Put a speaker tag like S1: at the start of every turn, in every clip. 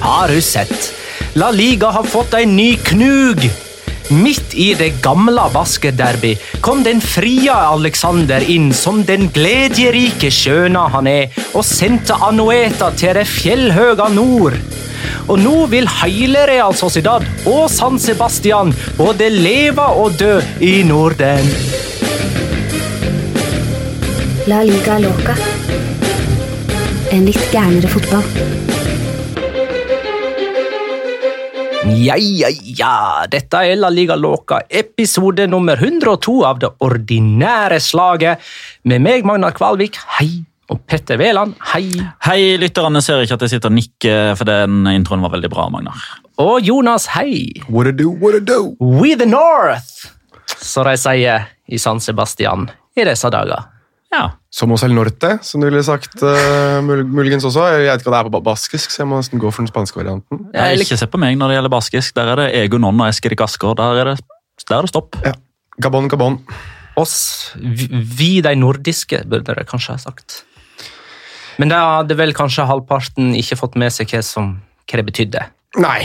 S1: Har du sett? La Liga har fått en ny knug. Midt i det gamle basketderby kom den frie Alexander inn som den gledjerike skjøna han er, og sendte Anueta til det fjellhøga nord. Og nå vil hele Real Sociedad og San Sebastian både leve og dø i Norden.
S2: La liga loca. En litt gærnere fotball.
S1: Ja, ja, ja. Dette er La Liga Loca, episode nummer 102 av det ordinære slaget. Med meg, Magnar Kvalvik, hei. Og Petter Veland, hei.
S3: Hei, lytterne ser ikke at jeg sitter og nikker, for den introen var veldig bra, Magnar.
S1: Og Jonas, hei.
S4: What to do, what to do?
S1: We the North, som de sier i San Sebastian i disse dager.
S3: Ja.
S4: Somos el norte, som du ville sagt eh, mul muligens også. Jeg vet ikke hva det er på ba- baskisk, så jeg må nesten gå for den spanske varianten.
S3: Jeg ikke se på meg når det gjelder baskisk. Der er det Egon Onn og Eskil Gaskår. Der er det, der er det stopp.
S4: Gabon, gabon.
S1: Oss, vi, vi de nordiske, burde de kanskje ha sagt. Men da hadde vel kanskje halvparten ikke fått med seg hva, som, hva det betydde.
S4: Nei.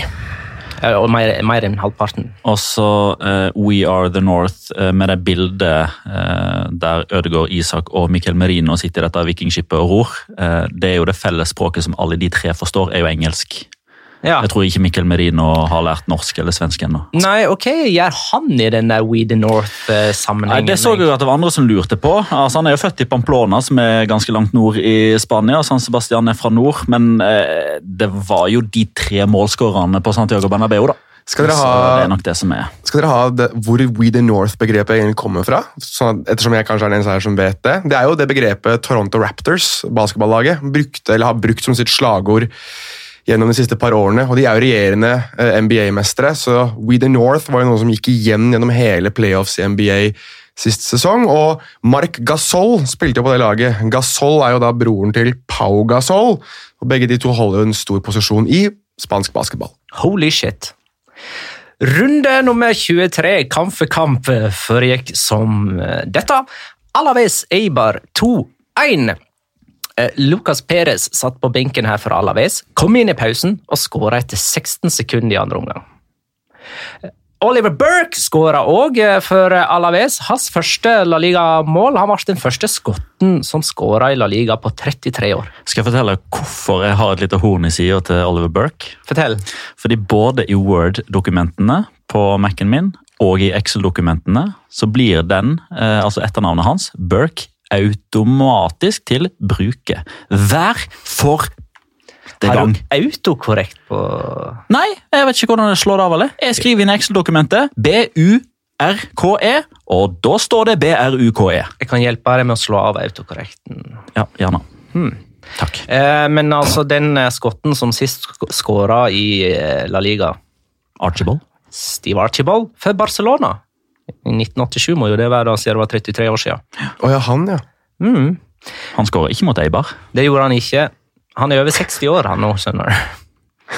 S1: Eh, Og mer, mer enn halvparten.
S3: Og så eh, We Are The North eh, med det bildet eh, der Ødegaard, Isak og Mikkel Merino sitter i dette vikingskipet og ror. Eh, det er jo det felles språket som alle de tre forstår, er jo engelsk.
S1: Ja.
S3: Jeg tror ikke Mikkel Merino har lært norsk eller svensk ennå.
S1: Nei, ok, gjør han i den der We the eh,
S3: Nei,
S1: North-sammenhengen?
S3: det så jeg jo at det var andre som lurte på. Altså, han er jo født i Pamplona, som er ganske langt nord i Spania. og San Sebastian er fra nord, men eh, det var jo de tre målskårerne på Santiago Bernabeu, da.
S4: Skal dere
S3: Så det er
S4: ha,
S3: nok det som er.
S4: skal dere ha det, hvor We the North-begrepet egentlig kommer fra? Sånn at, ettersom jeg kanskje er den eneste her som vet det. Det er jo det begrepet Toronto Raptors, basketballaget, brukte, eller har brukt som sitt slagord gjennom de siste par årene. Og de er jo regjerende eh, NBA-mestere, så We the North var jo noe som gikk igjen gjennom hele playoffs i NBA sist sesong. Og Marc Gasol spilte jo på det laget. Gasol er jo da broren til Pau Gasol, og begge de to holder jo en stor posisjon i spansk basketball.
S1: Holy shit. Runde nummer 23, kamp for kamp, eh, foregikk som eh, dette. Alaves Eibar 2-1. Eh, Lucas Perez satt på benken her for Alaves, kom inn i pausen og skåra etter 16 sekunder i andre omgang. Eh, Oliver Burke skåra òg for Alaves. Hans første La Liga-mål. Han ble den første skotten som skåra i La Liga på 33 år.
S3: Skal jeg fortelle hvorfor jeg har et lite horn i sida til Oliver Burke?
S1: Fortell.
S3: Fordi både i Word-dokumentene på Mac-en min og i Excel-dokumentene så blir den, eh, altså etternavnet hans, Burke, automatisk til bruker. Hver for det
S1: Har
S3: gang.
S1: du autokorrekt på
S3: Nei, jeg vet ikke hvordan jeg slår det av. eller? Jeg skriver inn i Excel-dokumentet B-U-R-K-E, E, og da står det B-R-U-K-E.
S1: Jeg kan hjelpe deg med å slå av autokorrekten.
S3: E. Ja, gjerne.
S1: Hmm.
S3: Takk.
S1: Eh, men altså, den eh, skotten som sist skåra i eh, La Liga,
S3: Archibald.
S1: Steve Archibald, for Barcelona. I 1987 må jo det være, da, siden det var 33 år siden.
S5: Å ja, han, ja.
S1: Mm.
S3: Han skårer ikke mot Eibar.
S1: Det gjorde han ikke. Han er over 60 år, han nå, skjønner du.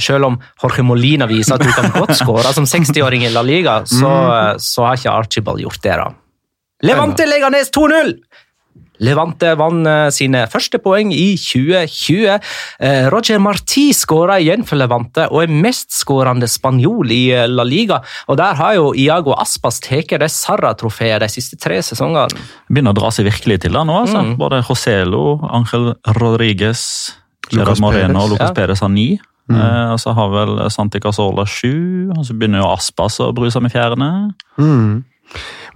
S1: Selv om Jorge Molina viser at du kan godt skåre som 60-åring i La Liga, så, så har ikke Archibald gjort det, da. Levante Leganes 2-0! Levante vant eh, sine første poeng i 2020. Eh, Roger Marti skåra igjen for Levante og er mestskårende spanjol i eh, La Liga. Og der har jo Iago Aspas tatt det Sarra-trofeet de siste tre sesongene.
S3: Begynner å dra seg virkelig til da nå. altså.
S1: Mm.
S3: Både Joselo, Ángel Rodriguez,
S5: Lucas
S3: Gerard Moreno og Lucas
S5: Perez.
S1: Ja. Hmm.
S3: Perez har ni. Eh, og så har vel Santi Casola sju, og så begynner jo Aspas å bruse med fjærene.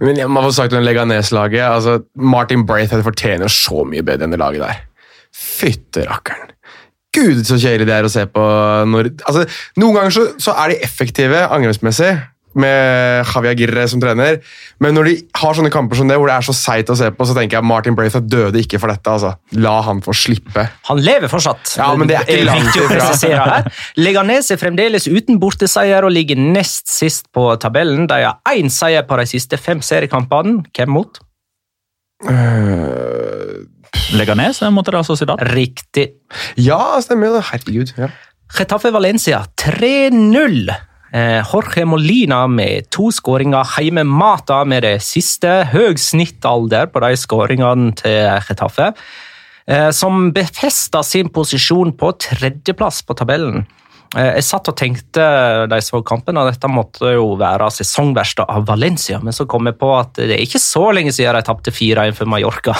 S5: Men jeg må få sagt om Leganes-laget. Altså, Martin Braithwaite fortjener så mye bedre enn det laget der. Fytte rakkeren. Gud, så kjedelig det er å se på når altså, Noen ganger så, så er de effektive angrepsmessig, med Javier Girre som trener, men når de har sånne kamper som det, hvor det er så seigt å se på, så tenker jeg Martin Braithwaite døde ikke for dette. altså. La han få slippe.
S1: Han lever fortsatt.
S5: Ja, men det er ikke langt
S1: viktig å
S5: ifra.
S1: presisere her. Leganes er fremdeles uten borteseier og ligger nest sist på tabellen. De har én seier på de siste fem seriekampene. Hvem mot?
S5: Øh,
S3: Leganes er mot Real Sociedad.
S1: Riktig.
S5: ja, stemmer jo det. Herregud. Ja.
S1: Getafe Valencia 3-0. Eh, Jorge Molina med to skåringer hjemmemata med det siste. Høy snittalder på de skåringene til Getafe, eh, som befesta sin posisjon på tredjeplass på tabellen. Eh, Jeg satt og tenkte da jeg så kampen, og dette måtte jo være sesongverste av Valencia, men så kom jeg på at det er ikke så lenge siden de tapte 4-1 for Mallorca.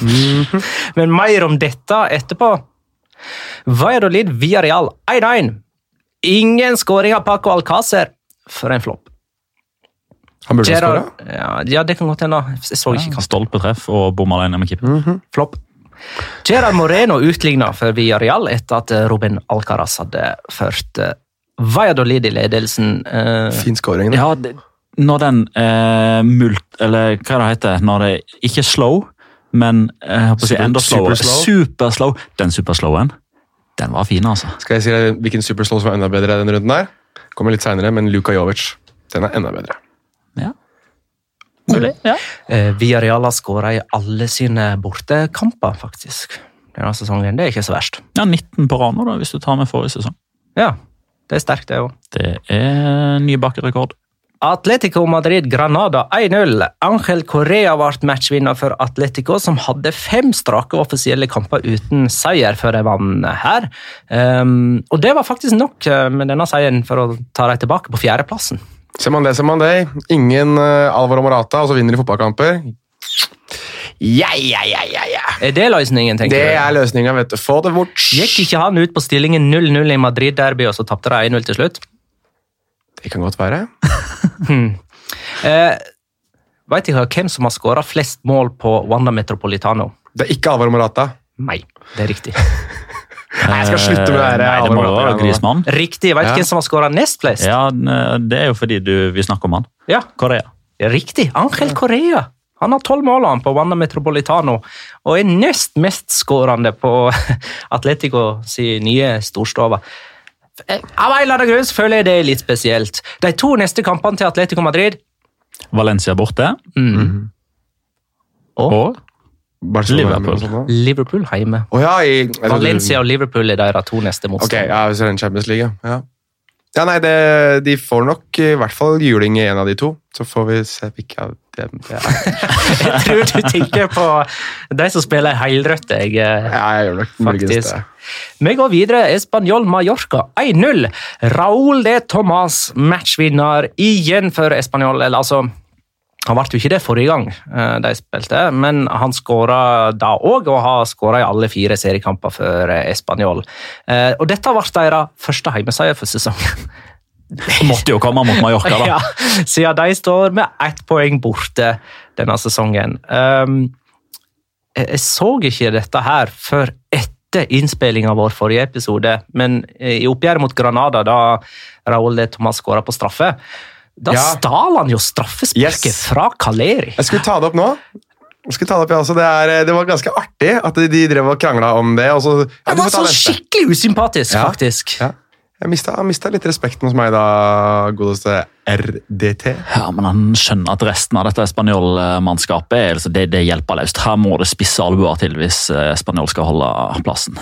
S5: Mhm.
S1: men mer om dette etterpå. Valladolid Villarreal 1-1. Ingen skåring av Paco Alcácer. For en flopp.
S5: Han burde ha
S1: Gerard-
S5: skåra.
S1: ja, ja, det kan godt hende. Jeg så ikke kampen.
S3: Stolpetreff og bom alene med keeper.
S1: Flopp. Gerard Moreno utligna for Villarreal etter at eh, Robin Alcaraz hadde ført eh, Valladolid i ledelsen. Eh,
S5: Fin scoring. da.
S3: Ja, det, når den eh, mult... Eller hva det heter når det Ikke er slow, men eh, jeg holdt på å si
S5: Super-
S3: enda slower.
S5: superslow.
S3: Superslow. Den superslowen, den var fin, altså.
S5: Skal jeg si deg hvilken superslow som er enda bedre i denne runden? her? Kommer litt seinere, men Luka Jovic. Den er enda bedre.
S3: Ja. Mulig. Ja.
S1: eh, Villarreal har skåra i alle sine bortekamper, faktisk. Denne sesongen. Det er ikke så verst.
S3: ja, 19 på rad nå, da, hvis du tar med forrige sesong.
S1: Ja, det er sterkt, det òg.
S3: Det er ny bakkerekord.
S1: Atletico Madrid Granada 1-0. Angel Correa ble matchvinner for Atletico, som hadde fem strake offisielle kamper uten seier før de vant her. Ehm, og det var faktisk nok eh, med denne seieren for å ta dem tilbake på fjerdeplassen.
S5: Ser man det, ser man det. Ingen eh, Alvaro Morata, og så vinner de fotballkamper. Ja, ja, ja, ja, ja.
S1: Er det løsningen, tenker
S5: Det er
S1: du?
S5: løsninga, vet du. Få det bort.
S1: Gikk ikke han ut på stillingen 0-0 i Madrid-derby, og så tapte de 1-0 til slutt?
S5: Det kan godt være.
S1: Eh, Veit dere hvem som har skåra flest mål på Wanda Metropolitano?
S5: Det er ikke Alvaro Morata.
S1: Meg. Det er riktig.
S5: Nei, jeg skal slutte med det her.
S3: Eh, Nei, det må jo være Grismann.
S1: Riktig. Veit du
S5: Ja.
S1: hvem som har skåra nest flest?
S3: Ja, det er jo fordi du, vi snakker om han.
S1: ja.
S3: Korea.
S1: Riktig. Angel Correa. Han har tolv mål han, på Wanda Metropolitano og er nest mest skårende på Atletico sin nye storstove. Av en eller annen grunn så føler jeg det er litt spesielt. De to neste kampene til Atletico Madrid
S3: Valencia borte.
S5: Mm.
S1: og
S3: Og Liverpool.
S5: Å
S1: Liverpool hjemme.
S5: ja, i jeg trodde-
S1: Valencia og Liverpool er deres to neste
S5: Ok,
S1: motstandere.
S5: ja, hvis det er en Champions League, ja. Ja, nei, det, De får nok i hvert fall juling i en av de to. Så får vi se hvilke av dem det er.
S1: Jeg tror du tenker på de som spiller helrødt, jeg. eh,
S5: Ja, jeg gjør nok muligens
S1: Faktisk.
S5: det.
S1: Vi går videre. Español Mallorca 1-0. Raúl de Tomàs matchvinner igjen for Español. Eller altså Han ble jo ikke det forrige gang eh, de spilte, men han skåra da òg, og har skåra i alle fire seriekamper for eh, Español. Eh, Og dette ble deres første heimeseier for sesongen.
S3: Måtte jo komme mot Mallorca, da.
S1: Ja, siden de står med ett poeng borte denne sesongen. Ehm, jeg jeg så ikke dette her før etter innspillinga vår forrige episode, men i oppgjøret mot Granada, da Raúl de Tomàs skåra på straffe, da
S5: Ja.
S1: stal han jo straffesparket
S5: Yes.
S1: fra Kaleri.
S5: Jeg skulle ta det opp nå. Jeg skulle ta Det opp, jeg også. Det, er, det var ganske artig at de drev og krangla om det. Og så, ja, altså,
S1: Det
S5: du
S1: var
S5: får ta
S1: sånn
S5: neste.
S1: skikkelig usympatisk,
S5: Ja.
S1: faktisk.
S5: Ja. Jeg mista, jeg mista litt respekten hos meg da, godeste RDT.
S3: Ja, men Han skjønner at resten av dette spanjolmannskapet er- altså det, det hjelper løst. Her må det spisse albuer til hvis eh, spanjol skal holde plassen.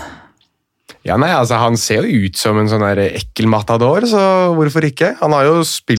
S5: Ja, nei, altså, Han ser jo ut som en sånn der ekkel matador, så hvorfor ikke? Han har jo spilt